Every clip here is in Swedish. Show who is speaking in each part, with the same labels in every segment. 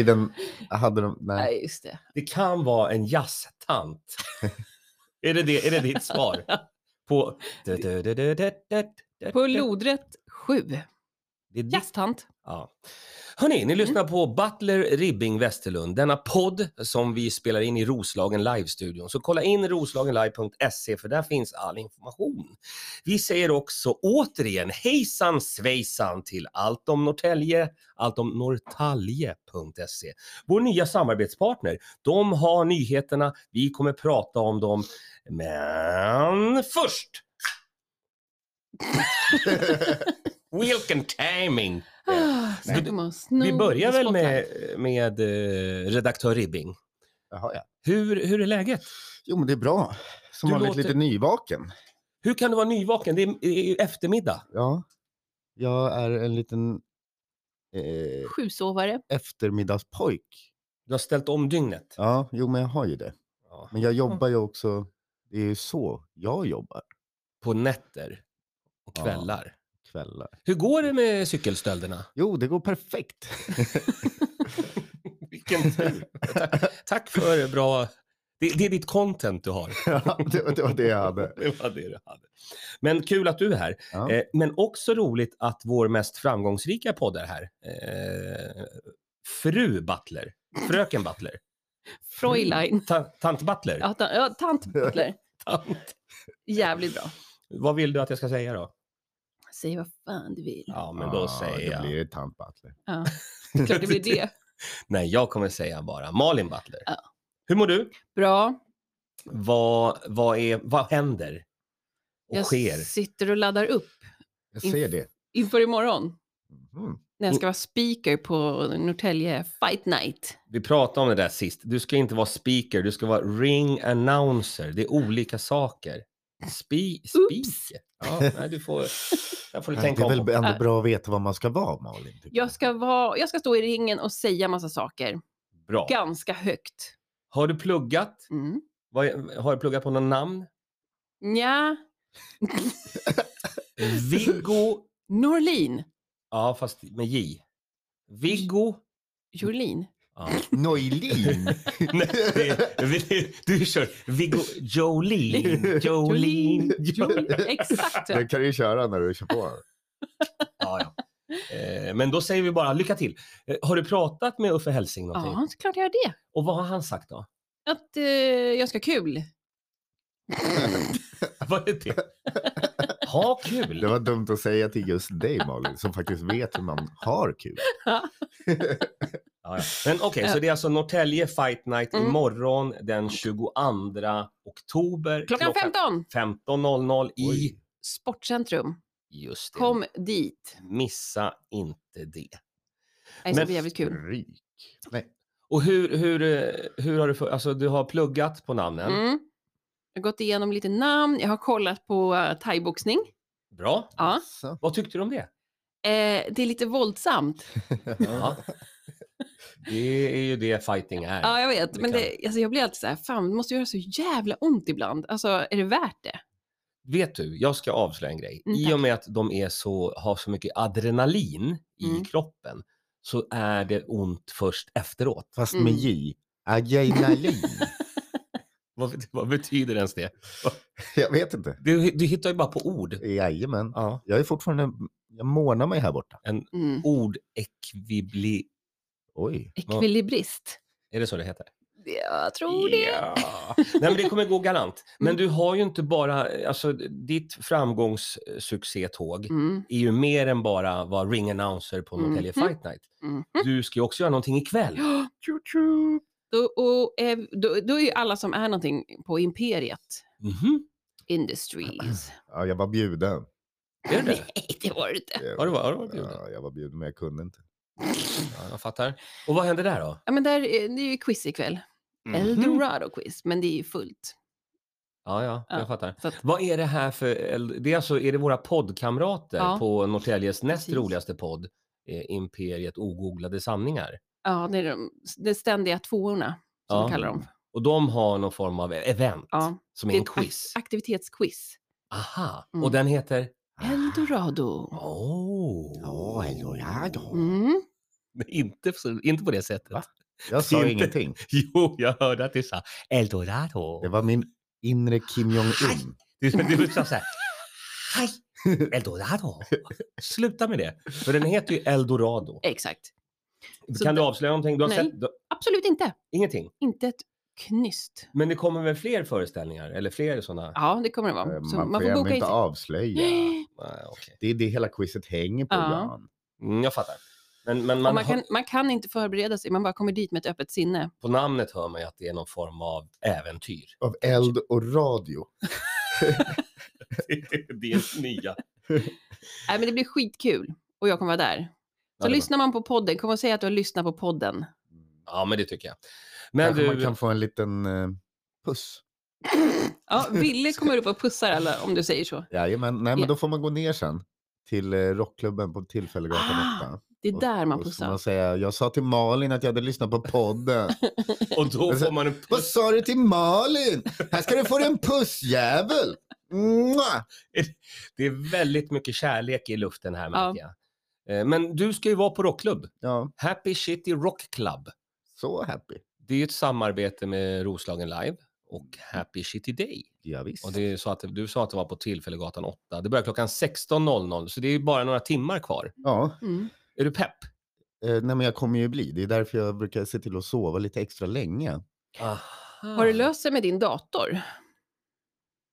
Speaker 1: tiden hade de, nej.
Speaker 2: Nej, just det.
Speaker 3: Det kan vara en jazztant. är, det det, är det ditt svar? På...
Speaker 2: På lodrätt 7.
Speaker 3: Det är ditt
Speaker 2: Jazztant.
Speaker 3: Ja. Hörni, ni lyssnar på Butler Ribbing Westerlund, denna podd som vi spelar in i Roslagen Live-studion. Så kolla in roslagenlive.se för där finns all information. Vi säger också återigen hejsan svejsan till allt om Norrtälje, allt om norrtalje.se. Vår nya samarbetspartner, de har nyheterna, vi kommer prata om dem, men först! Wilken Timing!
Speaker 2: Ah,
Speaker 3: Nej.
Speaker 2: snacka om att
Speaker 3: Vi
Speaker 2: sno
Speaker 3: börjar väl med,
Speaker 2: spotlight.
Speaker 3: med eh, redaktör Ribbing.
Speaker 1: Jaha, ja.
Speaker 3: Hur, hur är läget?
Speaker 1: Jo, men det är bra. Som
Speaker 3: Du
Speaker 1: vanligt
Speaker 3: låter-
Speaker 1: lite nyvaken.
Speaker 3: Hur kan du vara nyvaken? Det är, det är ju eftermiddag.
Speaker 1: Ja. Jag är en liten eh,
Speaker 2: Sjusovare.
Speaker 1: eftermiddagspojk.
Speaker 3: Du har ställt om dygnet.
Speaker 1: Ja, jo, men jag har ju det.
Speaker 3: Ja.
Speaker 2: Mm.
Speaker 1: Men jag jobbar ju också, det är ju så jag jobbar
Speaker 3: På nätter och
Speaker 1: Ja.
Speaker 3: kvällar.
Speaker 1: kvällar.
Speaker 3: Hur går det med cykelstölderna?
Speaker 1: Jo, det går perfekt.
Speaker 3: Vilken tur. tack, tack för bra... Det, det är ditt content du har.
Speaker 1: ja, det, var- det var det jag hade.
Speaker 3: Det var det du hade. Men kul att du är här.
Speaker 1: Ja.
Speaker 3: Eh, men också roligt att vår mest framgångsrika podd är här. Eh, fru Butler. Fröken Butler.
Speaker 2: Freulein.
Speaker 3: Ta, tant Butler.
Speaker 2: Ja, ta- ja, tant Butler.
Speaker 3: Tant.
Speaker 2: Jävligt bra.
Speaker 3: Vad vill du att jag ska säga då?
Speaker 2: Säg vad fan du vill.
Speaker 3: Ja, men då
Speaker 1: Ja,
Speaker 3: säger jag.
Speaker 1: Då blir det tant Butler.
Speaker 2: Ja. Det är klart det blir det.
Speaker 3: Nej, jag kommer säga bara Malin Butler.
Speaker 2: Ja.
Speaker 3: Hur mår du?
Speaker 2: Bra.
Speaker 3: Vad, vad, är, vad händer? Och
Speaker 2: Jag
Speaker 3: sker?
Speaker 2: sitter och laddar upp
Speaker 1: Jag
Speaker 2: Inf-
Speaker 1: ser det.
Speaker 2: inför imorgon.
Speaker 1: Mm.
Speaker 2: När jag ska vara speaker på Norrtälje Fight Night.
Speaker 3: Vi pratade om det där sist. Du ska inte vara speaker, du ska vara ring announcer. Det är olika saker. Spi,
Speaker 2: Oops.
Speaker 3: speaker? Ja, nej, du får, jag får du
Speaker 1: Men Det
Speaker 3: tänka
Speaker 1: är
Speaker 3: om.
Speaker 1: väl
Speaker 3: på.
Speaker 1: ändå bra att veta vad man ska vara, Malin? tycker
Speaker 2: Jag ska, vara, jag ska stå i ringen och säga massa saker.
Speaker 3: Bra.
Speaker 2: Ganska högt.
Speaker 3: Har du pluggat?
Speaker 2: Mm.
Speaker 3: Vad är- Har du pluggat på något namn?
Speaker 2: Nja.
Speaker 3: Viggo?
Speaker 2: Norlin.
Speaker 3: Ja, fast med J. Viggo?
Speaker 2: Jorlin.
Speaker 3: Ja.
Speaker 1: Neulin!
Speaker 3: Nej, det- vi- du kör Viggo Jolene. Jolene.
Speaker 2: Jorlin. Exakt.
Speaker 1: Den kan du ju köra när du kör på.
Speaker 3: Ja, ja. Eh, Men då säger vi bara lycka till. Eh, Har du pratat med Uffe Helsing någonting?
Speaker 2: Ja, såklart jag gör det.
Speaker 3: Och vad har han sagt då?
Speaker 2: Att eh, jag ska ha kul.
Speaker 3: Vad är det? Ha kul!
Speaker 1: Det var dumt att säga till just dig, Malin, som faktiskt vet hur man har kul.
Speaker 3: Ja, ja. Men okej, så det är alltså Norrtälje Fight Night
Speaker 2: Mm.
Speaker 3: imorgon den 22 oktober.
Speaker 2: Klockan 15.
Speaker 3: 15.00 i...
Speaker 1: Oj.
Speaker 2: Sportcentrum.
Speaker 3: Just det.
Speaker 2: Kom dit.
Speaker 3: Missa inte det.
Speaker 2: Nej, Det
Speaker 3: Men-
Speaker 2: ska bli jävligt kul.
Speaker 1: Rik. Nej.
Speaker 3: Och hur, hur, eh, hur har du... för- Alltså du har pluggat på namnen.
Speaker 2: Mm. Jag har gått igenom lite namn. Jag har kollat på uh, thaiboxning.
Speaker 3: Bra.
Speaker 2: Ja.
Speaker 1: Så.
Speaker 3: Vad tyckte du om det?
Speaker 2: Eh, det är lite våldsamt.
Speaker 3: Ja. Det är ju det fighting är.
Speaker 2: Ja, jag vet.
Speaker 3: det
Speaker 2: Men
Speaker 3: kan-
Speaker 2: det, alltså, jag blir alltid så här, fan, det måste göra så jävla ont ibland. Alltså, är det värt det?
Speaker 3: Vet du, jag ska avslöja en grej.
Speaker 2: Mm,
Speaker 3: I och med att de är så, har så mycket adrenalin i
Speaker 2: Mm.
Speaker 3: kroppen så är det ont först efteråt.
Speaker 1: Fast
Speaker 2: Mm.
Speaker 1: med J. Adrenalin.
Speaker 3: Vad, vad betyder ens det?
Speaker 1: Jag vet inte.
Speaker 3: Du, du hittar ju bara på ord.
Speaker 1: Jajamän.
Speaker 3: Ja.
Speaker 1: Jag är fortfarande, jag månar mig här borta.
Speaker 2: Mm.
Speaker 3: Ordekvibli...
Speaker 1: Oj.
Speaker 2: Ekvilibrist.
Speaker 3: Är det så det heter?
Speaker 2: Jag tror det.
Speaker 3: Ja. Nej, men det kommer gå galant. Men
Speaker 2: Mm.
Speaker 3: du har ju inte bara, alltså ditt framgångssuccétåg
Speaker 2: Mm,
Speaker 3: är ju mer än bara vara ring announcer på Norrtälje
Speaker 2: Mhm.
Speaker 3: Fight Night.
Speaker 2: mm.
Speaker 3: Du ska ju också göra någonting ikväll.
Speaker 2: Då, och, eh, då, då är ju alla som är någonting på Imperiet
Speaker 3: Mhm.
Speaker 2: Industries.
Speaker 1: Ja, jag var bjuden.
Speaker 3: Är det det?
Speaker 2: Nej, det var det inte.
Speaker 3: Har du var- har du varit bjuden?
Speaker 1: Ja, jag var bjuden men jag kunde inte.
Speaker 3: Ja, jag fattar. Och vad händer där då?
Speaker 2: Ja, men där, är- det är ju quiz ikväll. Eldorado-quiz, men det är ju fullt.
Speaker 3: Ja, ja,
Speaker 2: Ja,
Speaker 3: jag fattar.
Speaker 2: så att-
Speaker 3: Vad är det här för... eld- Det är, alltså, är det våra poddkamrater
Speaker 2: Ja.
Speaker 3: på Norrtäljes näst
Speaker 2: Precis.
Speaker 3: roligaste podd, eh, Imperiet Ogooglade sanningar?
Speaker 2: Ja, det är de, de ständiga tvåorna, som
Speaker 3: Ja.
Speaker 2: vi kallar dem.
Speaker 3: Och de har någon form av e-, event
Speaker 2: Ja,
Speaker 3: som
Speaker 2: det
Speaker 3: är
Speaker 2: är
Speaker 3: en
Speaker 2: ett ak-
Speaker 3: quiz.
Speaker 2: aktivitetsquiz.
Speaker 3: Aha,
Speaker 2: Mm.
Speaker 3: och den
Speaker 1: Ah.
Speaker 3: heter?
Speaker 2: Eldorado.
Speaker 3: Åh!
Speaker 1: Ja, Eldorado.
Speaker 2: Mm.
Speaker 3: Nej, Inte, så- inte på det sättet.
Speaker 1: Va? Jag sa
Speaker 3: Inte.
Speaker 1: ingenting.
Speaker 3: Jo, jag hörde att du sa Eldorado.
Speaker 1: Det var min inre Kim Jong-Un.
Speaker 3: Du, du sa så här. Hej! Eldorado. Sluta med det. För den heter ju Eldorado.
Speaker 2: Exakt. Så
Speaker 3: kan du
Speaker 2: det-
Speaker 3: avslöja någonting? Du har
Speaker 2: Nej.
Speaker 3: sett, du,
Speaker 2: Absolut inte.
Speaker 3: ingenting.
Speaker 2: Inte ett knyst.
Speaker 3: Men det kommer väl fler föreställningar? Eller fler sådana?
Speaker 2: Ja, det kommer det vara. Så
Speaker 1: Eh,
Speaker 2: man,
Speaker 1: Man får
Speaker 2: får
Speaker 1: gärna
Speaker 2: boka in
Speaker 1: inte
Speaker 2: sig.
Speaker 1: avslöja.
Speaker 3: Nej, Ah, okej.
Speaker 1: Det är det hela quizet hänger på,
Speaker 2: Ja.
Speaker 1: Jan.
Speaker 3: Mm, jag fattar. Men, men
Speaker 2: Man,
Speaker 3: man
Speaker 2: man,
Speaker 3: hör,
Speaker 2: kan, man kan inte förbereda sig, man bara kommer dit med ett öppet sinne.
Speaker 3: på namnet hör man ju att det är någon form av äventyr.
Speaker 1: Av eld och radio.
Speaker 3: det är nya.
Speaker 2: Nej, men det blir skitkul och jag kommer vara där. Så
Speaker 3: Ja, det var-
Speaker 2: lyssnar man på podden, kom och säg att du har lyssnat på podden.
Speaker 3: ja, men det tycker jag. Men
Speaker 1: Kanske
Speaker 3: du,
Speaker 1: man kan få en liten eh, puss.
Speaker 2: Ja, Ville kommer upp och pussar alla om du säger så.
Speaker 1: Jajamän. Nej, men
Speaker 2: Ja.
Speaker 1: då får man gå ner sen till eh, rockklubben på Tillfällegatan
Speaker 2: Ah,
Speaker 1: 8.
Speaker 2: Det är där man
Speaker 1: Och så får
Speaker 2: pussar.
Speaker 1: man säga, jag sa till Malin att jag hade lyssnat på podden.
Speaker 3: och då får man en
Speaker 1: Vad
Speaker 3: puss.
Speaker 1: sa du till Malin? Här ska du få dig en pussjävel. Mwah!
Speaker 3: Det är väldigt mycket kärlek i luften här,
Speaker 2: Ja.
Speaker 3: märker jag. Eh, Men du ska ju vara på rockklubb.
Speaker 1: Ja,
Speaker 3: Happy City Rock Club.
Speaker 1: så happy.
Speaker 3: Det är ju ett samarbete med Roslagen Live och Happy City Day.
Speaker 1: Ja, visst.
Speaker 3: Och det är så att, du sa att det var på Tillfällegatan 8. Det börjar klockan 16.00, så det är ju bara några timmar kvar.
Speaker 1: Ja,
Speaker 2: Mm.
Speaker 3: Är du pepp?
Speaker 1: eh, nej, men jag kommer ju bli. Det är därför jag brukar se till att sova lite extra länge.
Speaker 2: Har det löst sig med din dator?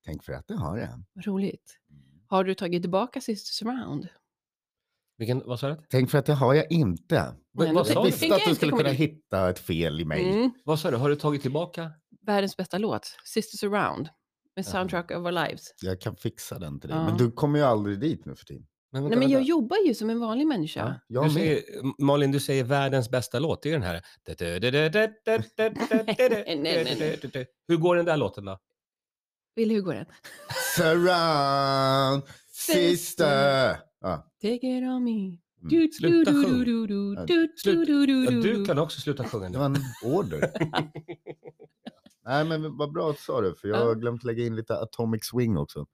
Speaker 1: Tänk för att det har jag.
Speaker 2: Vad roligt.
Speaker 1: Mm.
Speaker 2: Har du tagit tillbaka Sister Surround?
Speaker 3: Vilken, vad sa du?
Speaker 1: Tänk för att det har jag inte.
Speaker 3: Vad-
Speaker 2: Nej,
Speaker 3: vad
Speaker 2: nu-
Speaker 3: sa
Speaker 1: Jag
Speaker 3: du?
Speaker 1: visste att
Speaker 2: tänker
Speaker 1: du
Speaker 2: jag
Speaker 1: skulle
Speaker 2: inte
Speaker 1: kunna
Speaker 2: komma
Speaker 1: hitta ett fel i mig.
Speaker 2: Mm.
Speaker 3: Vad sa du? Har du tagit tillbaka?
Speaker 2: Världens bästa låt, Sister Surround, med
Speaker 3: Ja.
Speaker 2: Soundtrack of Our Lives.
Speaker 1: Jag kan fixa den till dig.
Speaker 2: Ja.
Speaker 1: Men du kommer ju aldrig dit nu för tiden.
Speaker 3: vänta,
Speaker 2: Nej, men jag
Speaker 3: vänta.
Speaker 2: jobbar ju som en vanlig människa.
Speaker 1: Ja,
Speaker 3: du
Speaker 1: jag med.
Speaker 3: säger, Malin, du säger världens bästa låt. Det är den här.
Speaker 2: Nej, nej,
Speaker 3: Hur går den där låten då?
Speaker 2: Vill hur går den?
Speaker 1: Surround, sister. Ja,
Speaker 2: Take it on me.
Speaker 1: Mm.
Speaker 2: Du, du,
Speaker 3: Sluta
Speaker 2: du,
Speaker 3: sjung.
Speaker 2: du, du, du,
Speaker 1: Ja,
Speaker 2: du,
Speaker 3: sluta.
Speaker 2: du, du,
Speaker 3: Ja,
Speaker 2: du,
Speaker 3: du
Speaker 2: du.
Speaker 3: kan också sluta sjunga
Speaker 1: det
Speaker 3: nu.
Speaker 1: var en order. Nej, men vad bra att du sa det, för jag har glömt lägga in lite Atomic Swing också.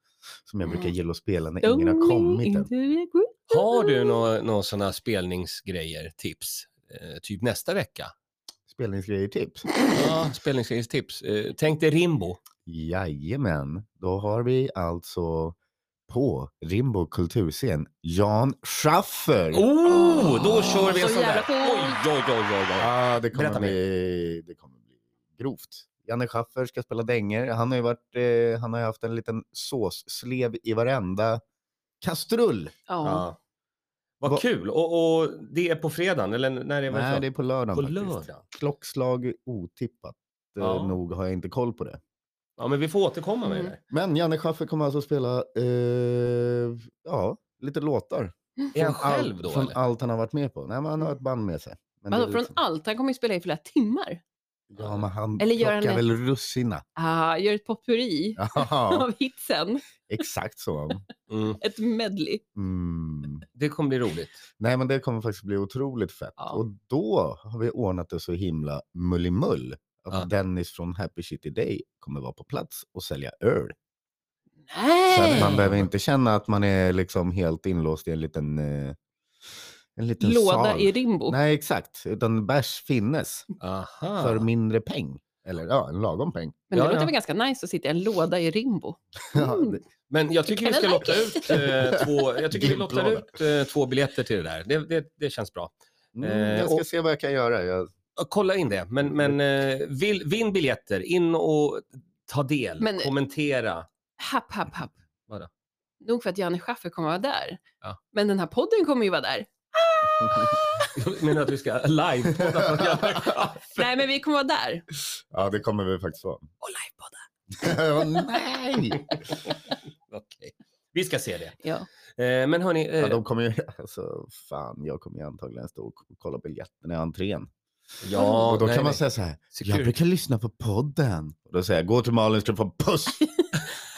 Speaker 1: Som jag brukar
Speaker 2: Mm.
Speaker 1: gilla att spela när
Speaker 2: Don't
Speaker 1: ingen har kommit än.
Speaker 2: into the groove.
Speaker 3: Har du några nå sådana spelningsgrejer, tips? Eh, typ nästa vecka?
Speaker 1: Spelningsgrejer tips.
Speaker 3: Ja, spelningsgrejerstips. Eh, tänk dig Rimbo.
Speaker 1: Jajamän, då har vi alltså på Rimbo kulturscen Jan Schaffer.
Speaker 3: Oh, då kör vi en
Speaker 2: Så
Speaker 3: sån där.
Speaker 2: jävla
Speaker 3: Oj,
Speaker 2: cool.
Speaker 3: oj, oj, oj, oj.
Speaker 1: Ja, det kommer,
Speaker 3: Berätta mer.
Speaker 1: bli, det kommer bli grovt. Janne Schaffer ska spela dänger. Han har ju varit, eh, han har ju haft en liten såsslev i varenda kastrull.
Speaker 2: Ja.
Speaker 3: Ja. Vad
Speaker 1: Vad-
Speaker 3: kul. Och, och det är på fredagen, eller när är det?
Speaker 1: Nej, det är på lördagen
Speaker 3: på
Speaker 1: faktiskt.
Speaker 3: lördag.
Speaker 1: Klockslag otippat. eh,
Speaker 3: Ja.
Speaker 1: Nog har jag inte koll på det.
Speaker 3: Ja, men vi får återkomma med
Speaker 2: Mm.
Speaker 3: det.
Speaker 1: Men Janne Schaffer kommer alltså spela, eh, ja, lite låtar.
Speaker 3: Är han
Speaker 1: Från allt-
Speaker 3: själv då?
Speaker 1: Från
Speaker 3: eller?
Speaker 1: allt han har varit med på. Nej, men han har ett band med sig. Men det är
Speaker 2: Vadå, Alltså, från
Speaker 1: liksom-
Speaker 2: allt? Han kommer ju spela i flera timmar.
Speaker 1: Ja, men han
Speaker 2: Eller gör han
Speaker 1: plockar
Speaker 2: det?
Speaker 1: väl russina.
Speaker 2: Ah, gör ett potpurri
Speaker 1: Ja,
Speaker 2: av hitsen.
Speaker 1: exakt så.
Speaker 3: Mm.
Speaker 2: Ett medley.
Speaker 1: Mm.
Speaker 3: Det kommer bli roligt.
Speaker 1: Nej, men det kommer faktiskt bli otroligt fett.
Speaker 2: Ja.
Speaker 1: Och då har vi ordnat det så himla mullimull att
Speaker 3: Ja.
Speaker 1: Dennis från Happy City Day kommer vara på plats och sälja öl. Så att
Speaker 2: Nej!
Speaker 1: man behöver inte känna att man är liksom helt inlåst i en liten, eh, en liten
Speaker 2: Låda
Speaker 1: sal.
Speaker 2: i Rimbo.
Speaker 1: Nej, exakt. Utan bärs finnes
Speaker 3: Aha.
Speaker 1: för mindre peng. Eller ja, en lagom peng.
Speaker 2: Men det
Speaker 3: Ja,
Speaker 2: låter
Speaker 3: ja.
Speaker 2: väl ganska nice att sitta i en låda i Rimbo.
Speaker 1: Ja, det-
Speaker 3: Men jag tycker vi
Speaker 2: Kan
Speaker 3: ska
Speaker 2: jag
Speaker 3: lotta ut, eh, två, jag tycker vi lottar
Speaker 1: Gimplåda.
Speaker 3: ut eh, två biljetter till det där. Det, det, det känns bra.
Speaker 1: Mm,
Speaker 3: Eh,
Speaker 1: jag ska
Speaker 3: och-
Speaker 1: se vad jag kan göra. Jag,
Speaker 3: Ja, Kolla in det, men, men eh, vill, vinn biljetter, in och ta del,
Speaker 2: Men-
Speaker 3: kommentera.
Speaker 2: Happ, happ, happ.
Speaker 3: Vadå?
Speaker 2: Nog för att Janne Schaffer kommer vara där.
Speaker 3: Ja.
Speaker 2: Men den här podden kommer ju vara där.
Speaker 3: Jag menar att vi ska live
Speaker 2: Nej, men vi kommer vara där.
Speaker 1: ja, det kommer vi faktiskt vara.
Speaker 2: Och livepodda.
Speaker 1: Åh, nej!
Speaker 3: Okej. Vi ska se det.
Speaker 2: Ja.
Speaker 3: Eh, Men hörni, eh,
Speaker 1: Ja, de kommer ju, alltså, fan, jag kommer ju antagligen stå och k- kolla biljetterna i entrén.
Speaker 3: ja,
Speaker 1: och då
Speaker 3: nej,
Speaker 1: kan man
Speaker 3: nej.
Speaker 1: säga så här, jag
Speaker 3: Security.
Speaker 1: brukar lyssna på podden. Och då säger jag, gå till Malin ska du få en puss.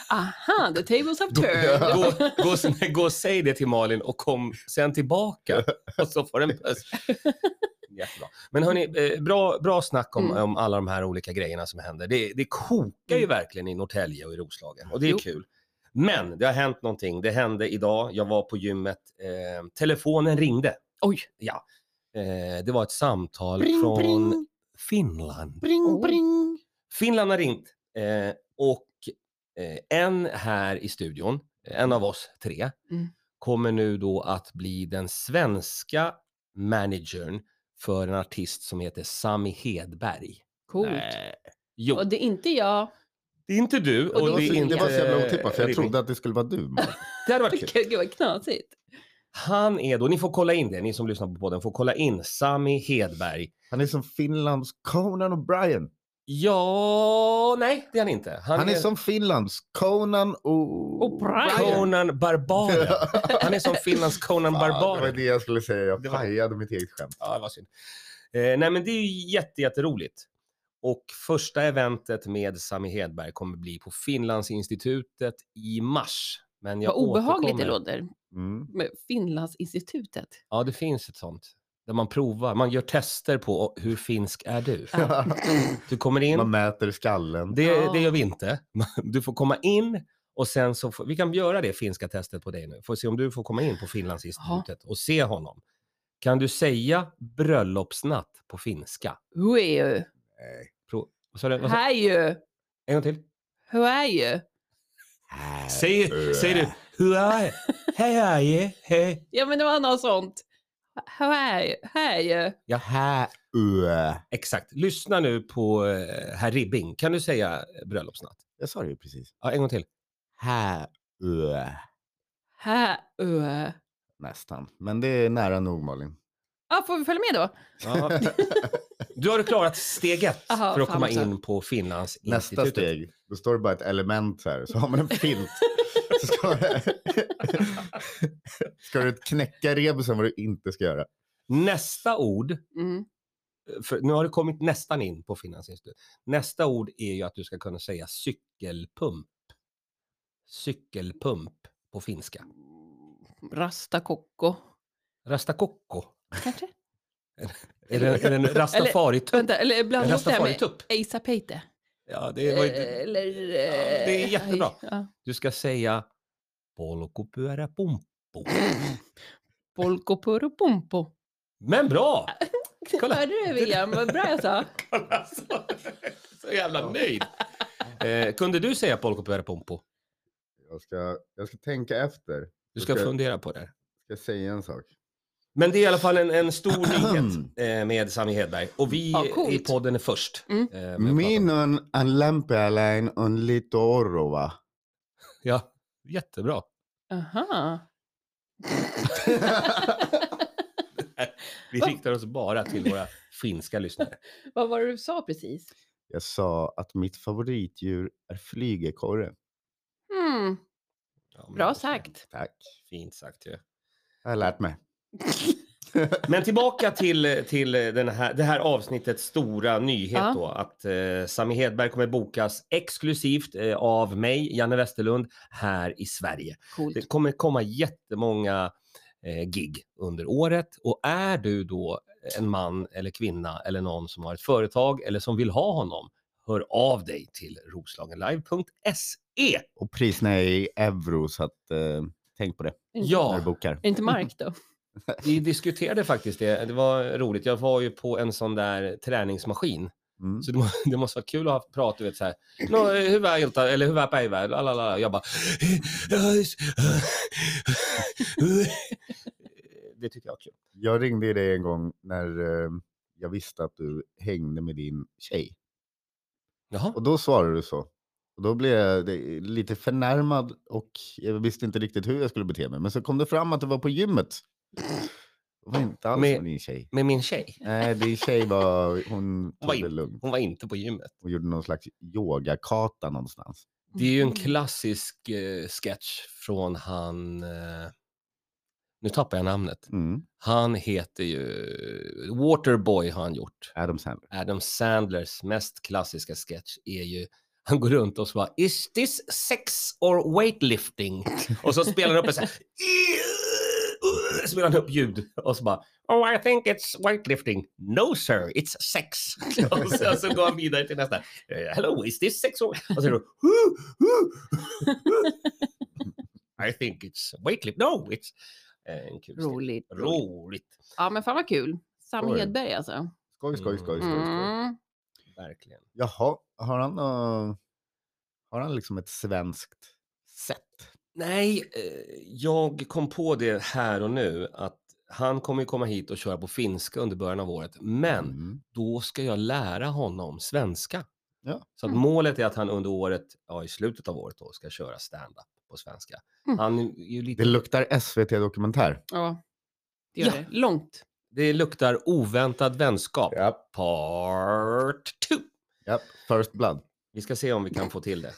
Speaker 2: Aha, the tables have
Speaker 1: Då-
Speaker 2: turned.
Speaker 3: Gå, gå, gå och säg det till Malin och kom sen tillbaka och så får den puss. Jättebra. Men hörni, eh, bra, bra snack om,
Speaker 2: Mm.
Speaker 3: om alla de här olika grejerna som händer. Det, det kokar ju verkligen i Norrtälje och i Roslagen och det är
Speaker 2: Jo.
Speaker 3: kul. Men det har hänt någonting. Det hände idag. Jag var på gymmet. Eh, telefonen ringde.
Speaker 2: Oj.
Speaker 3: Ja. Eh, det var ett samtal
Speaker 1: Pring,
Speaker 3: från
Speaker 1: pring,
Speaker 3: Finland.
Speaker 1: pring,
Speaker 2: Oh.
Speaker 1: pring.
Speaker 3: Finland har ringt eh, och eh, en här i studion, en av oss tre,
Speaker 2: Mm.
Speaker 3: kommer nu då att bli den svenska managern för en artist som heter Sami Hedberg.
Speaker 2: Coolt.
Speaker 1: Nej.
Speaker 3: Jo,
Speaker 2: Och det är inte jag.
Speaker 3: det är inte du och,
Speaker 2: och då-
Speaker 3: det är
Speaker 1: Det,
Speaker 3: inte...
Speaker 1: det var så Eh, jävla otippat, för jag
Speaker 3: Ribbing.
Speaker 1: trodde att det skulle vara du. Mark.
Speaker 3: Det hade varit kul.
Speaker 2: Gud vad knasigt.
Speaker 3: Han är då, ni får kolla in det, ni som lyssnar på podden får kolla in Sami Hedberg.
Speaker 1: Han är som Finlands Conan O'Brien.
Speaker 3: Ja, nej det är han inte.
Speaker 1: Han, är som Finlands Conan O-
Speaker 2: O'Brien.
Speaker 3: Conan Barbaren. Han är som Finlands Conan
Speaker 1: Fan, Det var
Speaker 3: Barbaren.
Speaker 1: det jag skulle säga. Jag
Speaker 3: Det var-
Speaker 1: pajade mitt eget skämt.
Speaker 3: Ja, det var synd. Eh, nej, men det är ju jätte, jätteroligt. Och första eventet med Sami Hedberg kommer bli på Finlandsinstitutet i mars. Men jag
Speaker 2: Vad obehagligt det
Speaker 3: återkommer.
Speaker 2: låter.
Speaker 1: Mm.
Speaker 2: Med Finlandsinstitutet.
Speaker 3: Ja, det finns ett sånt. Där man provar, man gör tester på hur finsk är du? Du kommer in.
Speaker 1: Man mäter skallen.
Speaker 3: Det,
Speaker 2: Ja.
Speaker 3: det gör vi inte. Du får komma in och sen så får, vi kan göra det finska testet på dig nu. Får se om du får komma in på Finlandsinstitutet och se honom. Kan du säga bröllopsnatt på finska?
Speaker 2: Hur är ju?
Speaker 1: Nej.
Speaker 3: Vad sa du? Vad sa-
Speaker 2: Här ju.
Speaker 3: En gång till.
Speaker 2: Hur är ju?
Speaker 3: Säg, säg du, hur är Hej är jag? Hej.
Speaker 2: Ja men det var något sånt. Hur är ju? Här ju.
Speaker 3: Ja,
Speaker 1: Här, ö.
Speaker 3: exakt. Lyssna nu på eh, herr Ribbing. Kan du säga bröllopsnatt?
Speaker 1: Jag sa det ju precis.
Speaker 3: Ja, en gång till.
Speaker 1: Här, ö.
Speaker 2: Här ö.
Speaker 1: Nästan. Men det är nära nog, Malin.
Speaker 2: Ja, får vi följa med då?
Speaker 3: Ja. Du har klarat steg ett
Speaker 2: Aha,
Speaker 3: för att
Speaker 2: fan
Speaker 3: komma
Speaker 2: också.
Speaker 3: in på Finlands
Speaker 1: Nästa steg, då står det bara ett element här, så har man en filt. Så ska, ska du knäcka rebusen vad du inte ska göra.
Speaker 3: Nästa ord
Speaker 2: Mm.
Speaker 3: för nu har det kommit nästan in på Finlandsinstitutet. Nästa ord är ju att du ska kunna säga cykelpump. Cykelpump på finska.
Speaker 2: Rastakokko.
Speaker 3: Rastakokko.
Speaker 2: Kanske?
Speaker 3: Är det, är det en rastafaritupp?
Speaker 2: Vänta, eller blanda
Speaker 3: En
Speaker 2: ihop det här med
Speaker 3: rastafaritupp?
Speaker 2: Eisa Peite. Eh,
Speaker 3: Ja, det var ju,
Speaker 2: Eller...
Speaker 3: Ja, det är
Speaker 2: eh,
Speaker 3: jättebra.
Speaker 2: aj, ja.
Speaker 3: du ska säga polkupyöräpumppu.
Speaker 2: Polkopurupumpo.
Speaker 3: Men bra! Kolla.
Speaker 2: Hörde du William? Vad bra jag sa.
Speaker 3: Kolla, så, så jävla nöjd. Eh, kunde du säga polkupyöräpumppu?
Speaker 1: Jag ska, jag ska tänka efter.
Speaker 3: Du ska
Speaker 1: Okej.
Speaker 3: fundera på det.
Speaker 1: Jag ska säga en sak.
Speaker 3: Men det är i alla fall en, en stor nyhet eh, med Sami Hedberg. Och vi
Speaker 2: Ja,
Speaker 3: i
Speaker 2: coolt.
Speaker 3: podden är först.
Speaker 2: Mm.
Speaker 3: eh, med att prata om det.
Speaker 1: Minun on lämpäläin on litorova.
Speaker 3: Ja, jättebra.
Speaker 2: Aha.
Speaker 3: Vi
Speaker 2: Va?
Speaker 3: riktar oss bara till våra finska lyssnare.
Speaker 2: Vad var det du sa precis?
Speaker 1: Jag sa att mitt favoritdjur är flygekorre.
Speaker 2: Mm,
Speaker 3: Ja, men
Speaker 2: bra
Speaker 3: det är
Speaker 2: sagt.
Speaker 1: Tack.
Speaker 3: Fint sagt ju.
Speaker 1: Jag har lärt mig.
Speaker 3: Men tillbaka till, till den här, det här avsnittets stora nyhet
Speaker 2: Ja.
Speaker 3: då. Att eh, Sami Hedberg kommer bokas exklusivt eh, av mig, Janne Westerlund, här i Sverige.
Speaker 2: Coolt.
Speaker 3: Det kommer komma jättemånga eh, gig under året och är du då en man eller kvinna eller någon som har ett företag eller som vill ha honom, hör av dig till roslagenlive.se.
Speaker 1: Och priserna är i euro så att eh, tänk på det när
Speaker 3: Ja,
Speaker 1: du bokar.
Speaker 2: Inte Mark då?
Speaker 3: vi diskuterade faktiskt det. Det var roligt. Jag var ju på en sån där träningsmaskin.
Speaker 1: Mm.
Speaker 3: Så det, må, det måste vara kul att ha prat, du vet så här. Nå, eh, hur var Ilta? Eller hur var Päivä? Lalala. Jag bara... Det tycker jag är kul.
Speaker 1: Jag ringde ju dig en gång när eh, jag visste att du hängde med din tjej.
Speaker 3: Jaha.
Speaker 1: Och då svarade du så. Och då blev jag det- lite förnärmad och jag visste inte riktigt hur jag skulle bete mig. Men så kom det fram att du var på gymmet. Det var inte alls
Speaker 3: Med-
Speaker 1: med din tjej.
Speaker 3: Med min tjej.
Speaker 1: Nej, din tjej var, hon
Speaker 3: Hon var
Speaker 1: tog det
Speaker 3: in-
Speaker 1: lugnt
Speaker 3: Hon var inte på gymmet.
Speaker 1: och gjorde någon slags yogakata någonstans.
Speaker 3: Det är ju en
Speaker 2: Mm.
Speaker 3: klassisk eh, sketch från han... Eh, nu tappar jag namnet.
Speaker 1: Mm.
Speaker 3: Han heter ju... Waterboy har han gjort.
Speaker 1: Adam Sandler.
Speaker 3: Adam Sandlers mest klassiska sketch är ju... Han går runt och så bara “Is this sex or weightlifting?” Och så spelar han upp en så här... Spelar han upp ljud och så bara “Oh I think it's weightlifting.” “No sir, it's sex.” Och sen så går han vidare till nästa. “Eh, “Hello, is this sex or...” Och så är det... “I think it's weightlifting.” “No, it's...” Eh, En kul sketch.
Speaker 2: Roligt.
Speaker 3: Roligt.
Speaker 2: Ja men fan vad kul. Sam
Speaker 1: Oj.
Speaker 2: Hedberg alltså.
Speaker 1: Skoj, skoj, skoj. skoj, skoj.
Speaker 2: Mm.
Speaker 3: Verkligen.
Speaker 1: Jaha, har han, eh, har han liksom ett svenskt sätt?
Speaker 3: Nej, eh, jag kom på det här och nu att han kommer ju komma hit och köra på finska under början av året. Men
Speaker 1: Mm.
Speaker 3: då ska jag lära honom svenska.
Speaker 1: Ja.
Speaker 3: Så att
Speaker 2: Mm.
Speaker 3: målet är att han under året, ja i slutet av året då, ska köra stand-up på svenska.
Speaker 2: Mm.
Speaker 3: Han är ju lite,
Speaker 1: Det luktar SVT-dokumentär.
Speaker 2: Ja, det gör
Speaker 3: Ja.
Speaker 2: det. Långt.
Speaker 3: det luktar oväntad vänskap.
Speaker 1: Japp.
Speaker 3: Part 2.
Speaker 1: Japp, First Blood.
Speaker 3: Vi ska se om vi kan få till det.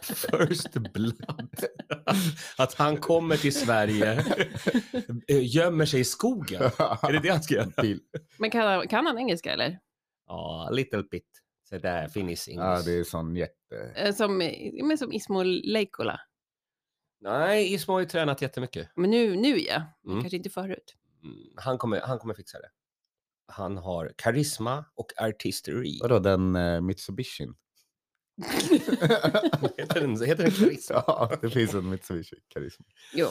Speaker 3: First blood. Att han kommer till Sverige, eh, gömmer sig i skogen. Är det det han ska göra?
Speaker 1: Pil-
Speaker 2: Men kan, kan han engelska eller?
Speaker 3: Ja, little bit. Så där, Finnish
Speaker 1: ja,
Speaker 3: English.
Speaker 1: det är sån jätte...
Speaker 2: Eh, Som, eh, men som Ismail Leikola.
Speaker 3: Nej, Ismo har ju tränat jättemycket.
Speaker 2: Men nu, nu ja. Men
Speaker 3: Mm.
Speaker 2: Kanske inte förut.
Speaker 3: Mm, Han kommer, han kommer fixa det. Han har karisma och artisteri.
Speaker 1: Vadå, den uh, Mitsubishin?
Speaker 3: Heter den, heter den karisma?
Speaker 1: ja, det finns en Mitsubishi Karisma.
Speaker 2: jo.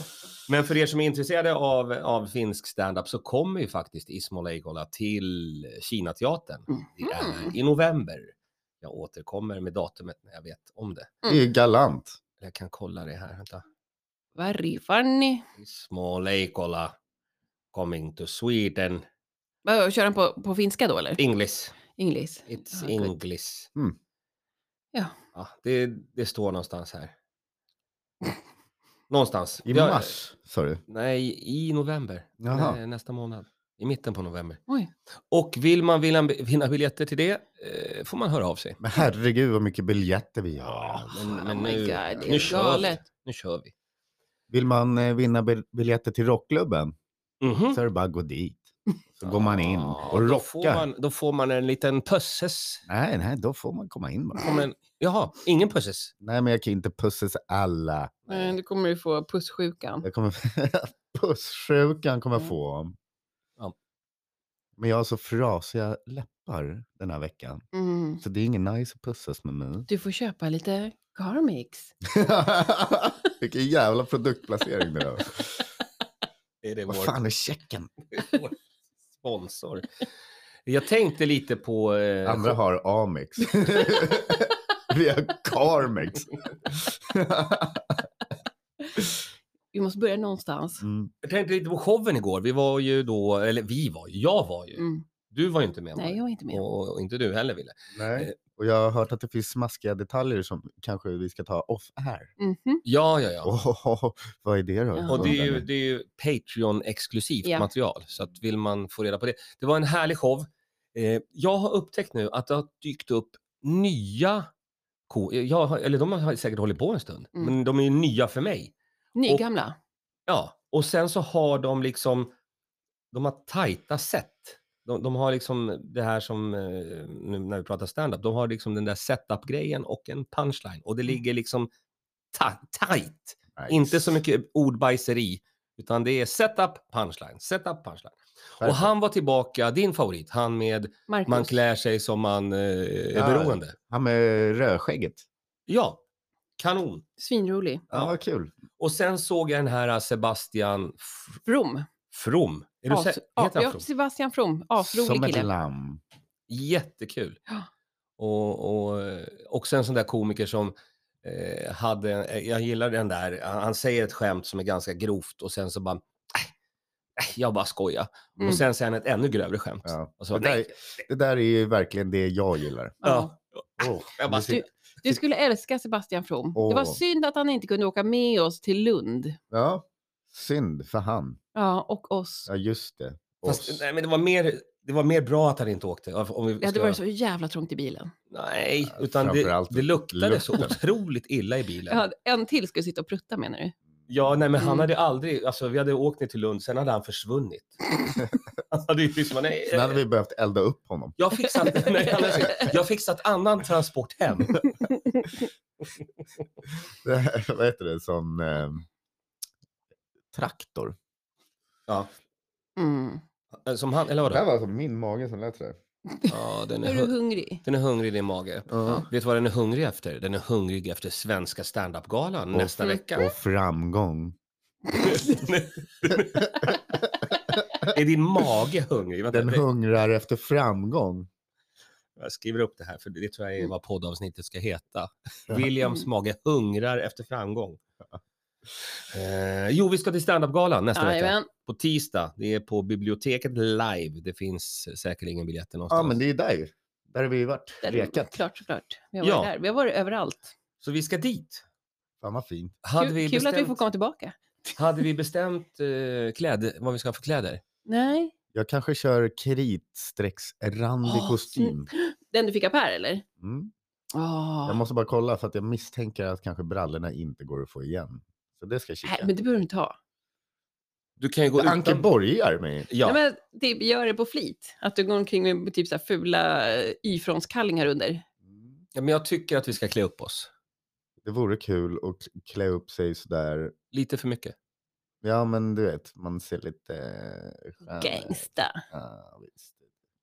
Speaker 3: Men för er som är intresserade av, av finsk standup så kommer ju faktiskt Ismo Leikola till Kinateatern. Det är i november. Jag återkommer med datumet när jag vet om det.
Speaker 1: Det är ju galant.
Speaker 3: Jag kan kolla det här. Vänta.
Speaker 2: Varri Fanny.
Speaker 3: Ismo Leikola coming to Sweden.
Speaker 2: Vad, Kör han på, på finska då eller?
Speaker 3: English.
Speaker 2: English.
Speaker 3: It's
Speaker 2: Ja, good.
Speaker 3: English.
Speaker 1: Mm.
Speaker 2: Ja.
Speaker 3: ja det, det står någonstans här. Någonstans.
Speaker 1: I
Speaker 3: Jag-
Speaker 1: mars, sa du?
Speaker 3: Nej, i november.
Speaker 1: Jaha.
Speaker 3: Nej, nästa månad. I mitten på november.
Speaker 2: Oj.
Speaker 3: Och vill man vinna, vinna biljetter till det eh, får man höra av sig.
Speaker 1: Men herregud vad mycket biljetter vi har.
Speaker 3: men, men
Speaker 2: oh my
Speaker 3: nu,
Speaker 2: God, det är
Speaker 3: nu, kör vi.
Speaker 2: galet.
Speaker 3: nu kör vi.
Speaker 1: Vill man eh, vinna bil- biljetter till rockklubben
Speaker 3: Mhm.
Speaker 1: så är det bara att gå dit. Så går man in
Speaker 3: Ja,
Speaker 1: och
Speaker 3: Då får
Speaker 1: rockar.
Speaker 3: man, då får man en liten pusses.
Speaker 1: Nej, nej, då får man komma in bara.
Speaker 3: Kommer en, jaha, ingen pusses.
Speaker 1: Nej, men jag kan inte pussas alla.
Speaker 2: Eh, Du kommer ju få pussjukan.
Speaker 1: Jag kommer... Pussjukan kommer jag
Speaker 2: Mm.
Speaker 1: få.
Speaker 3: Ja.
Speaker 1: Men jag har så frasiga läppar den här veckan.
Speaker 3: Eh.
Speaker 2: Mm.
Speaker 1: Så det är ingen nice att pussas med mig.
Speaker 2: Du får köpa lite Carmix.
Speaker 1: Vilken jävla produktplacering det var.
Speaker 3: Det är det
Speaker 1: Vad
Speaker 3: vår-
Speaker 1: fan är checken?
Speaker 3: vår sponsor. Jag tänkte lite på... eh,
Speaker 1: Andra har Amex. Vi har Carmex.
Speaker 2: Vi måste börja någonstans.
Speaker 1: Mm.
Speaker 3: Jag tänkte lite på showen igår. Vi var ju då, eller vi var, jag var ju.
Speaker 2: Mm.
Speaker 3: Du var ju inte med.
Speaker 2: Nej,
Speaker 3: Maja.
Speaker 2: jag är inte med.
Speaker 3: och, och inte du heller, Ville. Eh.
Speaker 1: Nej. Och jag har hört att det finns smaskiga detaljer som kanske vi ska ta off här.
Speaker 2: Mhm.
Speaker 3: Ja, ja, ja.
Speaker 1: Åh, vad är det då?
Speaker 2: Ja.
Speaker 3: Och det är ju,
Speaker 1: Undrar ni.
Speaker 3: det är ju Patreon-exklusivt
Speaker 2: Ja.
Speaker 3: material, så att vill man få reda på det. Det var en härlig show. Eh, jag har upptäckt nu att det har dykt upp nya ko- eh, jag har, eller de har säkert hållit på en stund,
Speaker 2: Mm.
Speaker 3: men de är ju nya för mig.
Speaker 2: Nygamla.
Speaker 3: Ja, och sen så har de liksom, de har tajta set. De, de har liksom det här som, eh, nu när vi pratar stand-up, de har liksom den där setup-grejen och en punchline. Och det ligger liksom ta- tajt.
Speaker 1: Nice.
Speaker 3: Inte så mycket ordbajseri, utan det är setup, punchline, setup, punchline. Och
Speaker 1: Perfekt.
Speaker 3: han var tillbaka, din favorit, han med
Speaker 2: Marcus.
Speaker 3: man klär sig som man eh, är
Speaker 1: Ja.
Speaker 3: beroende.
Speaker 1: Han med rödskägget.
Speaker 3: Ja, kanon.
Speaker 2: Svinrolig.
Speaker 1: Ja,
Speaker 3: Ja.
Speaker 1: vad kul.
Speaker 3: Och sen såg jag den här Sebastian F-
Speaker 2: From.
Speaker 3: From. Är du
Speaker 2: As,
Speaker 3: sä-
Speaker 2: ja,
Speaker 3: heter han
Speaker 2: ja,
Speaker 3: From?
Speaker 2: Sebastian From. Asrolig
Speaker 1: Som ett
Speaker 2: kille.
Speaker 1: lamm.
Speaker 3: Jättekul.
Speaker 2: Ja.
Speaker 3: Och, och eh, också en sån där komiker som eh, hade, eh, jag gillar den där, han han säger ett skämt som är ganska grovt och sen så bara, "Äh, äh, jag bara skojar.
Speaker 2: Mm.
Speaker 3: Och sen säger han ett ännu grövre skämt.
Speaker 1: Ja.
Speaker 3: Och så,
Speaker 1: Det, där, det där är ju verkligen det jag gillar.
Speaker 3: Ja.
Speaker 1: Åh,
Speaker 3: Jag bara,
Speaker 1: musik-
Speaker 2: Du skulle älska Sebastian From. Det var
Speaker 1: Åh.
Speaker 2: synd att han inte kunde åka med oss till Lund.
Speaker 1: ja. Synd för han.
Speaker 2: Ja, och oss.
Speaker 1: Ja, just det.
Speaker 3: Fast,
Speaker 1: Oss.
Speaker 3: nej, men det var, mer, det var mer bra att han inte åkte. Om vi
Speaker 2: Det hade
Speaker 3: ska-
Speaker 2: varit så jävla trångt i bilen.
Speaker 3: Nej, utan det,
Speaker 1: Framförallt
Speaker 3: det luktade så
Speaker 1: lukten.
Speaker 3: otroligt illa i bilen.
Speaker 2: Ja, en till skulle sitta och prutta menar du?
Speaker 3: Ja, nej, men han
Speaker 2: Mm.
Speaker 3: hade aldrig, alltså vi hade åkt ner till Lund, sen hade han försvunnit. han hade ju liksom, nej,
Speaker 1: Sen hade vi behövt elda upp honom.
Speaker 3: jag har fixat, nej, han hade, jag har fixat annan transport hem.
Speaker 1: Det här- Vad heter det? Sån eh, traktor.
Speaker 3: Ja,
Speaker 2: Mm.
Speaker 3: som han, eller
Speaker 1: Det här
Speaker 3: vadå?
Speaker 1: var alltså min mage som lät sådär.
Speaker 3: Ja, den
Speaker 2: Är
Speaker 3: är,
Speaker 2: du
Speaker 3: hu-
Speaker 2: hungrig?
Speaker 3: den är hungrig i din mage.
Speaker 1: Ja.
Speaker 3: Vet du vad den är hungrig efter? Den är hungrig efter svenska standup-galan
Speaker 1: Och-
Speaker 3: nästa vecka.
Speaker 1: Och framgång.
Speaker 3: Är din mage hungrig? Vänta,
Speaker 1: Den
Speaker 3: det-
Speaker 1: hungrar efter framgång.
Speaker 3: jag skriver upp det här, för det tror jag är vad poddavsnittet ska heta. Williams mage hungrar efter framgång. Eh, jo, vi ska till standup-galan nästa vecka.
Speaker 2: Jajamän.
Speaker 3: På tisdag. Det är på biblioteket live. Det finns säkerligen biljetter
Speaker 1: Ja,
Speaker 3: någonstans.
Speaker 1: men det är där. Där har vi ju varit.
Speaker 2: Där-
Speaker 1: Rekat.
Speaker 2: Klart, såklart. Vi har varit
Speaker 3: Ja.
Speaker 2: där. Vi har varit överallt.
Speaker 3: Så vi ska dit.
Speaker 1: Fan vad fint.
Speaker 3: Hade
Speaker 2: kul
Speaker 3: vi
Speaker 2: kul
Speaker 3: bestämt,
Speaker 2: att vi får komma tillbaka.
Speaker 3: hade vi bestämt eh, kläd, vad vi ska ha för kläder?
Speaker 2: Nej.
Speaker 1: Jag kanske kör kritstrecksrandig
Speaker 3: Ah,
Speaker 2: Åh,
Speaker 1: kostym.
Speaker 2: Den du fick av Per eller?
Speaker 1: Mm.
Speaker 2: Oh.
Speaker 3: Ah.
Speaker 1: Jag måste bara kolla för att jag misstänker att kanske brallorna inte går att få igen. Så det ska
Speaker 3: Äh,
Speaker 1: jag kika.
Speaker 2: Nej, men det behöver du inte ha.
Speaker 3: Du kan ju gå
Speaker 1: Anke borgar mig.
Speaker 3: Ja.
Speaker 2: Nej, men typ, gör det på flit. Att du går omkring med typ så här fula eh, Y-fronskallingar under.
Speaker 3: Ja, men jag tycker att vi ska klä upp oss.
Speaker 1: Det vore kul att k- klä upp sig sådär.
Speaker 3: Lite för mycket.
Speaker 1: Ja, men du vet, man ser lite... eh, skön ut.
Speaker 2: Gangsta.
Speaker 1: Ja, visst.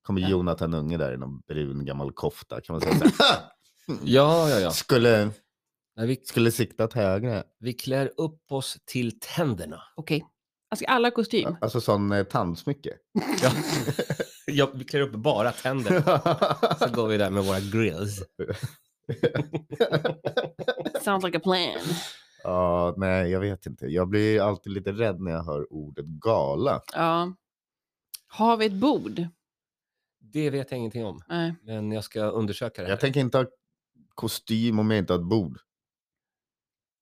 Speaker 1: Kommer
Speaker 2: Ja.
Speaker 1: Jonathan Unge där i någon brun gammal kofta kan man säga så här. "Ha!
Speaker 3: Ja, ja, ja.
Speaker 1: Skulle,
Speaker 3: Nej, vi,
Speaker 1: skulle siktat högre.
Speaker 3: vi klär upp oss till tänderna.
Speaker 2: Okej. Alltså alla kostym.
Speaker 1: Alltså sån eh, tandsmycke.
Speaker 3: Ja. ja, vi klär upp bara tänderna. Så går vi där med våra grills.
Speaker 2: Sounds like a plan.
Speaker 1: Ja, nej, jag vet inte. Jag blir alltid lite rädd när jag hör ordet gala.
Speaker 2: Ja. Har vi ett bord?
Speaker 3: Det vet jag ingenting om,
Speaker 2: Nej.
Speaker 3: men jag ska undersöka det här.
Speaker 1: Jag tänker inte ha kostym om jag inte har ett bord.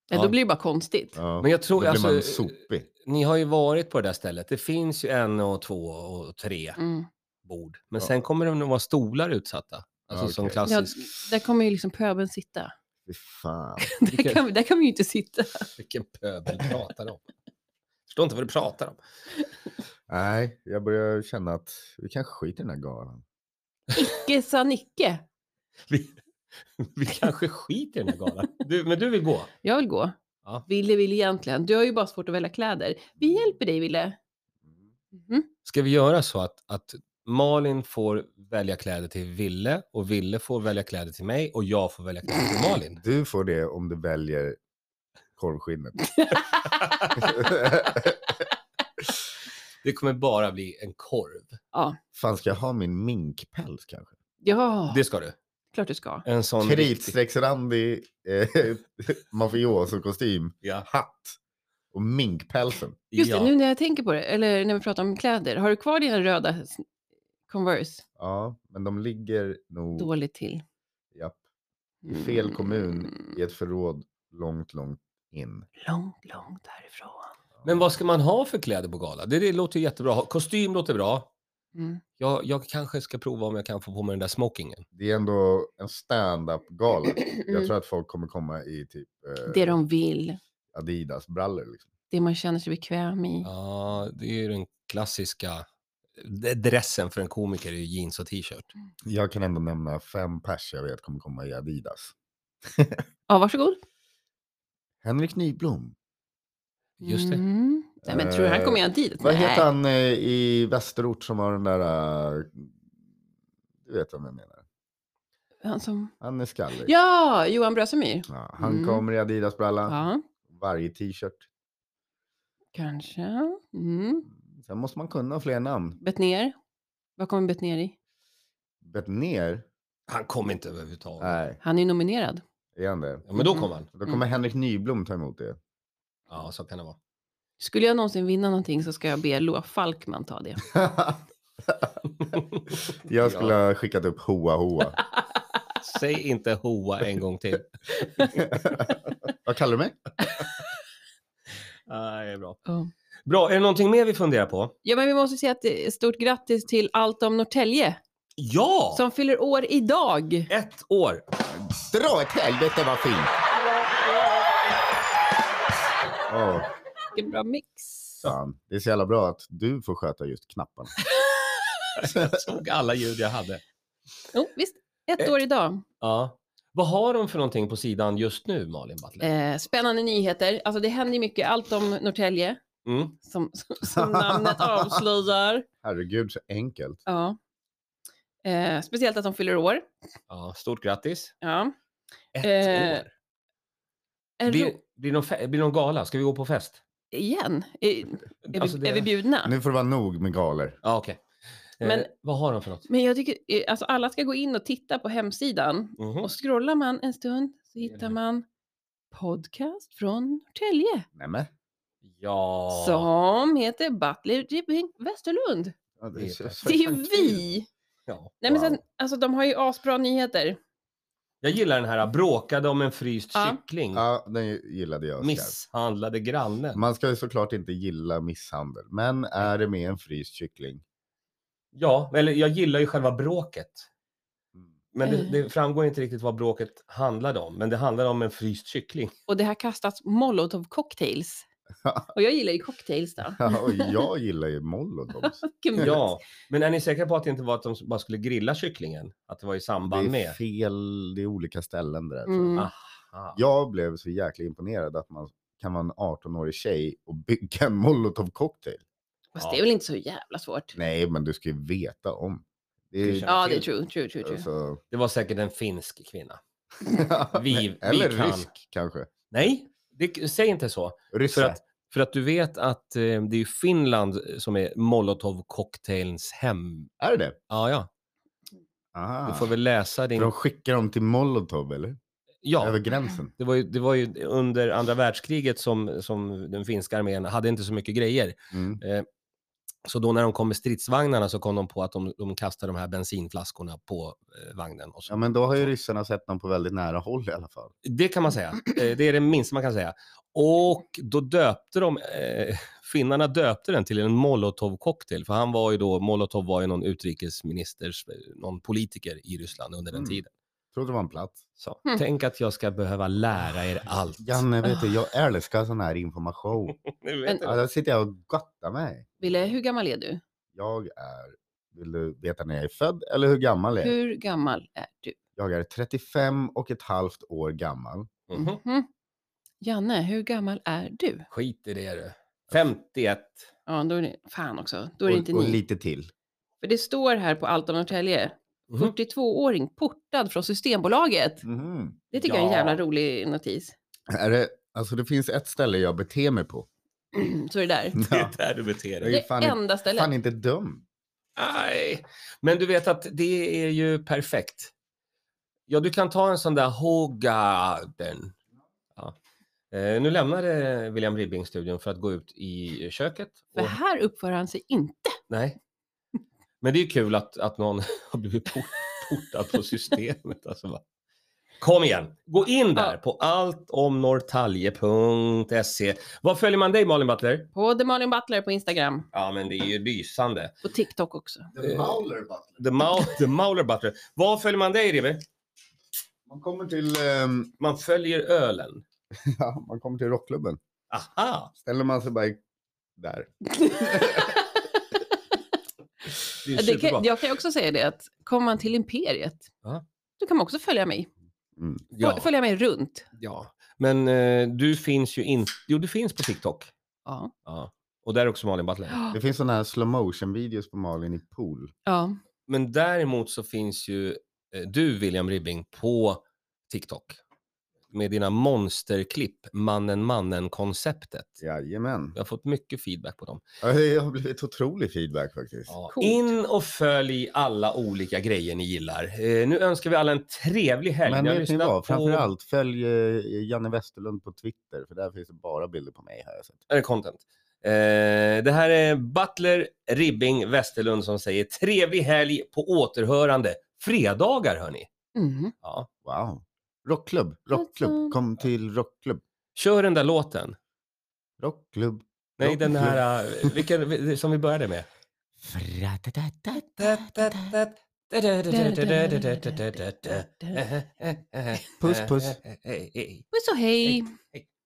Speaker 2: Ja,
Speaker 3: Ja.
Speaker 2: Då blir det bara konstigt.
Speaker 1: Ja,
Speaker 3: Men jag tror
Speaker 1: då blir man
Speaker 3: alltså,
Speaker 1: sopig.
Speaker 3: ni har ju varit på det där stället. Det finns ju en och två och tre
Speaker 2: Mm.
Speaker 3: bord. Men
Speaker 1: Ja.
Speaker 3: sen kommer det nog vara stolar utsatta. Alltså
Speaker 1: Ja,
Speaker 3: som
Speaker 1: okej.
Speaker 2: Ja,
Speaker 3: klassisk.
Speaker 2: där kommer ju liksom pöbeln sitta.
Speaker 1: Fy fan.
Speaker 2: Där kan, vi- där kan vi ju inte sitta.
Speaker 3: Vilken pöbel pratar de om? Förstår inte vad du pratar om.
Speaker 1: Nej, jag börjar känna att vi kanske skiter i den här galan.
Speaker 2: Icke sa Nicke.
Speaker 3: Vi, vi kanske skiter i den här galan. Du, men du vill gå?
Speaker 2: Jag vill gå.
Speaker 3: Ja.
Speaker 2: Ville vill egentligen. Du har ju bara svårt att välja kläder. Vi hjälper dig Ville. Mhm.
Speaker 3: Ska vi göra så att, att Malin får välja kläder till Ville och Ville får välja kläder till mig och jag får välja kläder till Malin?
Speaker 1: Du får det om du väljer korvskinnet.
Speaker 3: Det kommer bara bli en korv.
Speaker 1: Fan, ska jag ha min minkpäls kanske? Ah.
Speaker 2: Ja,
Speaker 3: Det ska du.
Speaker 2: klart du ska.
Speaker 3: En sån riktig-
Speaker 1: Kritstrecksrandig eh, mafioso-kostym,
Speaker 3: Ja.
Speaker 1: hatt och minkpälsen.
Speaker 2: Just
Speaker 3: ja.
Speaker 2: det, nu när jag tänker på det, eller när vi pratar om kläder. Har du kvar dina röda s- Converse?
Speaker 1: Ja, men de ligger nog
Speaker 2: Dåligt till.
Speaker 1: japp, i Oh. fel kommun
Speaker 2: Mm,
Speaker 1: i ett förråd långt, långt in.
Speaker 2: Långt, långt därifrån.
Speaker 3: Men vad ska man ha för kläder på gala? Det, det låter ju jättebra. Ha- Kostym låter bra.
Speaker 2: Mm.
Speaker 3: Jag, jag kanske ska prova om jag kan få på mig den där smokingen.
Speaker 1: Det är ändå en stand-up-gala. Jag
Speaker 2: Mm.
Speaker 1: tror att folk kommer komma i typ eh,
Speaker 2: Det de vill,
Speaker 1: Adidas-brallor. Liksom.
Speaker 2: det man känner sig bekväm i.
Speaker 3: Ja, det är ju den klassiska d- dressen för en komiker, är ju jeans och t-shirt.
Speaker 1: Jag kan ändå nämna fem pers jag vet kommer komma i Adidas.
Speaker 2: Ja, varsågod.
Speaker 1: Henrik Nyblom.
Speaker 3: Just det.
Speaker 2: Mm. Nej, men tror du han
Speaker 1: Eh,
Speaker 2: kommer göra dit?
Speaker 1: Vad
Speaker 2: Nej.
Speaker 1: heter han eh, i Västerort som har den där... eh, Du vet vem jag menar.
Speaker 2: han? Som...
Speaker 1: Han är skallig.
Speaker 2: Ja, Johan Brösemyr.
Speaker 1: Ja, han
Speaker 2: Mm.
Speaker 1: kommer i Adidas-bralla.
Speaker 2: Ja,
Speaker 1: Varje t-shirt.
Speaker 2: kanske. Mm.
Speaker 1: Sen måste man kunna fler namn.
Speaker 2: Bettner. Vad kommer Bettner i?
Speaker 1: Bet ner.
Speaker 3: Han kom inte överhuvudtaget.
Speaker 1: Nej,
Speaker 2: Han är ju nominerad.
Speaker 1: är han det?
Speaker 3: Ja, men då kom han.
Speaker 1: Då kommer
Speaker 2: Mm.
Speaker 1: Henrik Nyblom ta emot det.
Speaker 3: Ja, så kan det vara.
Speaker 2: Skulle jag någonsin vinna någonting så ska jag be Loa Falkman ta det.
Speaker 1: jag skulle ha skickat upp Hoa Hoa.
Speaker 3: Säg inte hoa en gång till.
Speaker 1: Vad kallar du mig?
Speaker 3: Nej, det är bra.
Speaker 2: Ja.
Speaker 3: Bra, är det någonting mer vi funderar på?
Speaker 2: Ja, men vi måste säga ett eh, stort grattis till Allt om Norrtälje
Speaker 3: Ja!
Speaker 2: som fyller år idag.
Speaker 3: Ett år.
Speaker 1: Dra åt helvete vad fint! Åh,
Speaker 2: Vilken bra mix.
Speaker 1: fan. Det är så jävla bra att du får sköta just knapparna.
Speaker 3: Jag såg alla ljud jag hade.
Speaker 2: Jo, visst. Ett år idag.
Speaker 3: Ja. Vad har de för någonting på sidan just nu, Malin Butler?
Speaker 2: Eh, spännande nyheter. Alltså det händer ju mycket. Allt om Norrtälje
Speaker 3: Mm.
Speaker 2: som, som, som namnet avslöjar.
Speaker 1: Herregud, så enkelt.
Speaker 2: Ja. Eh, speciellt att de fyller år.
Speaker 3: Ja, stort grattis.
Speaker 2: Ja.
Speaker 3: Ett
Speaker 2: Eh,
Speaker 3: år.
Speaker 2: En
Speaker 3: Blir,
Speaker 2: ro-
Speaker 3: blir, det någon fe- blir det någon gala? Ska vi gå på fest?
Speaker 2: igen? Är, är,
Speaker 3: Alltså,
Speaker 2: vi,
Speaker 3: det-
Speaker 2: är vi bjudna?
Speaker 1: Nu får det vara nog med galor.
Speaker 3: Ja, okej.
Speaker 2: Men-
Speaker 3: Eh, vad har de för något?
Speaker 2: Men jag tycker, eh, alltså alla ska gå in och titta på hemsidan.
Speaker 3: Mhm.
Speaker 2: Och scrollar man en stund så hittar man podcast från Norrtälje.
Speaker 1: Nämen.
Speaker 3: Ja.
Speaker 2: Som heter Butler Ribbing Västerlund.
Speaker 1: Ja,
Speaker 3: Det är
Speaker 1: så-
Speaker 3: perfekt.
Speaker 1: så-
Speaker 2: Det är ju
Speaker 1: fan kul.
Speaker 2: vi!
Speaker 3: ja.
Speaker 2: Nej, men
Speaker 1: Wow.
Speaker 2: sen, alltså, de har ju asbra nyheter.
Speaker 3: Jag gillar den här, äh, bråkade om en fryst
Speaker 2: Ja.
Speaker 3: kyckling.
Speaker 1: Ja, den gillade jag. skarpt.
Speaker 3: Misshandlade grannen.
Speaker 1: Man ska ju såklart inte gilla misshandel, men är det med en fryst kyckling?
Speaker 3: Ja, eller jag gillar ju själva bråket.
Speaker 1: Mm.
Speaker 3: Men det,
Speaker 2: Eh.
Speaker 3: det framgår inte riktigt vad bråket handlade om. Men det handlade om en fryst kyckling.
Speaker 2: Och det har kastats molotov cocktails. Och jag gillar ju cocktails då.
Speaker 1: Ja, och jag gillar ju molotovs.
Speaker 2: Vilken bit.
Speaker 3: Ja, men är ni säkra på att det inte var att de bara skulle grilla kycklingen? Att det var i
Speaker 1: Det
Speaker 3: samband
Speaker 1: är
Speaker 3: med?
Speaker 1: fel, det är olika ställen det där. tror jag.
Speaker 2: Mm.
Speaker 3: Ah. Ah.
Speaker 1: Jag blev så jäkla imponerad att man kan vara en 18-årig tjej och bygga en molotov cocktail.
Speaker 2: Fast det är väl inte så jävla svårt.
Speaker 1: Nej, men du ska ju veta om. Det är,
Speaker 3: Du känner
Speaker 2: Ja, det är
Speaker 3: till.
Speaker 2: true, true, true. true.
Speaker 1: alltså,
Speaker 3: Det var säkert en finsk kvinna. Vi-
Speaker 1: Eller
Speaker 3: vi kan.
Speaker 1: rysk kanske.
Speaker 3: Nej, det, säg inte så. För
Speaker 1: Ryssar.
Speaker 3: att, för att du vet att eh, det är ju Finland som är Molotov-cocktailns hem...
Speaker 1: Är det det?
Speaker 3: Ja, ja.
Speaker 1: Aha.
Speaker 3: Du
Speaker 1: Ah.
Speaker 3: får väl läsa
Speaker 1: För
Speaker 3: din...
Speaker 1: de skickar dem till molotov, eller?
Speaker 3: Ja,
Speaker 1: Över gränsen.
Speaker 3: det var, ju, det var ju under andra världskriget som, som den finska armén hade inte så mycket grejer.
Speaker 1: Mm.
Speaker 3: Så då när de kom med stridsvagnarna så kom de på att de, de kastade de här bensinflaskorna på eh, vagnen. Och så.
Speaker 1: Ja, men då har ju ryssarna sett dem på väldigt nära håll i alla fall.
Speaker 3: Det kan man säga. Eh, Det är det minsta man kan säga. Och då döpte de, eh, finnarna döpte den till en molotovcocktail. För han var ju då, molotov var ju någon utrikesminister, någon politiker i Ryssland under den
Speaker 1: Mm.
Speaker 3: tiden.
Speaker 1: Trodde det var en plats.
Speaker 3: Så,
Speaker 2: Mm.
Speaker 3: Tänk att jag ska behöva lära er allt.
Speaker 1: Janne, vet du, jag älskar sån här information.
Speaker 3: Ni
Speaker 2: Men-
Speaker 3: vet
Speaker 1: Ja,
Speaker 3: det.
Speaker 1: där sitter jag och gottar mig.
Speaker 2: Ville, hur gammal är du?
Speaker 1: Jag är... Vill du veta när jag är född eller hur gammal jag är?
Speaker 2: Hur gammal är du?
Speaker 1: Jag är 35 och ett halvt år gammal.
Speaker 3: Mhm.
Speaker 1: Mm-hmm.
Speaker 2: Mhm. Janne, hur gammal är du?
Speaker 3: Skit i det du. 51.
Speaker 2: Ja, då är det, fan också, då är det inte
Speaker 1: och, och
Speaker 2: ni.
Speaker 1: lite till.
Speaker 2: För det står här på Allt om Norrtälje.
Speaker 3: Mhm.
Speaker 2: 42-åring portad från Systembolaget.
Speaker 1: Mhm.
Speaker 2: Det tycker jag är en jävla
Speaker 3: Ja.
Speaker 2: rolig notis.
Speaker 1: Är det, alltså det finns ett ställe jag beter mig på.
Speaker 2: Så är det där.
Speaker 3: Det
Speaker 1: Ja.
Speaker 3: är där du beter dig.
Speaker 1: är ju
Speaker 2: Det
Speaker 1: fan-
Speaker 2: enda stället.
Speaker 1: Fan inte dum.
Speaker 3: Nej. Men du vet att det är ju perfekt. Ja, du kan ta en sån där Hogarden. Ja. Eh, nu lämnade William Ribbing studion för att gå ut i köket.
Speaker 2: För
Speaker 3: Och,
Speaker 2: här uppför han sig inte.
Speaker 3: nej. Men det är ju kul att, att någon har blivit port- portad på systemet. Alltså, va? Kom igen, gå in där
Speaker 2: Ja.
Speaker 3: på alltomnorrtalje.se. Var följer man dig Malin Butler?
Speaker 2: På The Malin Butler på Instagram.
Speaker 3: Ja, men det är ju lysande.
Speaker 2: På TikTok också.
Speaker 1: Eh.
Speaker 3: The Mauler
Speaker 1: Butler.
Speaker 3: The, Mau- the Mauler Butler. Var följer man dig Ribbe?
Speaker 1: Man kommer till, ehm,
Speaker 3: Man följer ölen.
Speaker 1: ja, man kommer till rockklubben.
Speaker 3: Aha!
Speaker 1: Ställer man sig bara i- där.
Speaker 3: Det är
Speaker 2: Det
Speaker 3: superbra.
Speaker 2: kan, jag kan ju också säga det att kommer man till Imperiet,
Speaker 3: Ja.
Speaker 2: då kan man också följa mig.
Speaker 1: Mm.
Speaker 3: ja,
Speaker 2: Följa mig runt.
Speaker 3: ja. Men eh, du finns ju inte... Jo, du finns på TikTok.
Speaker 2: Ja.
Speaker 3: Ja. Och där är också Malin Butler.
Speaker 1: Det finns sådana här slow motion videos på Malin i pool.
Speaker 2: ja.
Speaker 3: Men däremot så finns ju eh, du, William Ribbing, på TikTok. Med dina monsterklipp, mannen mannen-konceptet.
Speaker 1: Jajamän.
Speaker 3: Jag har fått mycket feedback på dem.
Speaker 1: Ja, Det har blivit otrolig feedback faktiskt.
Speaker 3: Ja.
Speaker 2: Coolt.
Speaker 3: In och följ alla olika grejer ni gillar. Eh, nu önskar vi alla en trevlig helg.
Speaker 1: Men
Speaker 3: Vi har
Speaker 1: vet ni
Speaker 3: lyssnat
Speaker 1: vad?
Speaker 3: på-
Speaker 1: Framförallt följ eh, Janne Westerlund på Twitter, för där finns det bara bilder på mig. Här, jag sett.
Speaker 3: Eller content. Eh, det här är Butler Ribbing Westerlund som säger trevlig helg på återhörande. Fredagar hörni.
Speaker 2: Mhm.
Speaker 3: Ja.
Speaker 1: Wow. Rockklubb, rockklubb,
Speaker 2: Alltså.
Speaker 1: kom till rockklubb.
Speaker 3: Kör den där låten.
Speaker 1: Rockklubb.
Speaker 3: Nej,
Speaker 1: rockklubb.
Speaker 3: den här eh, vilken, som vi började med.
Speaker 1: Puss, puss.
Speaker 2: Puss och hej!
Speaker 3: Hej.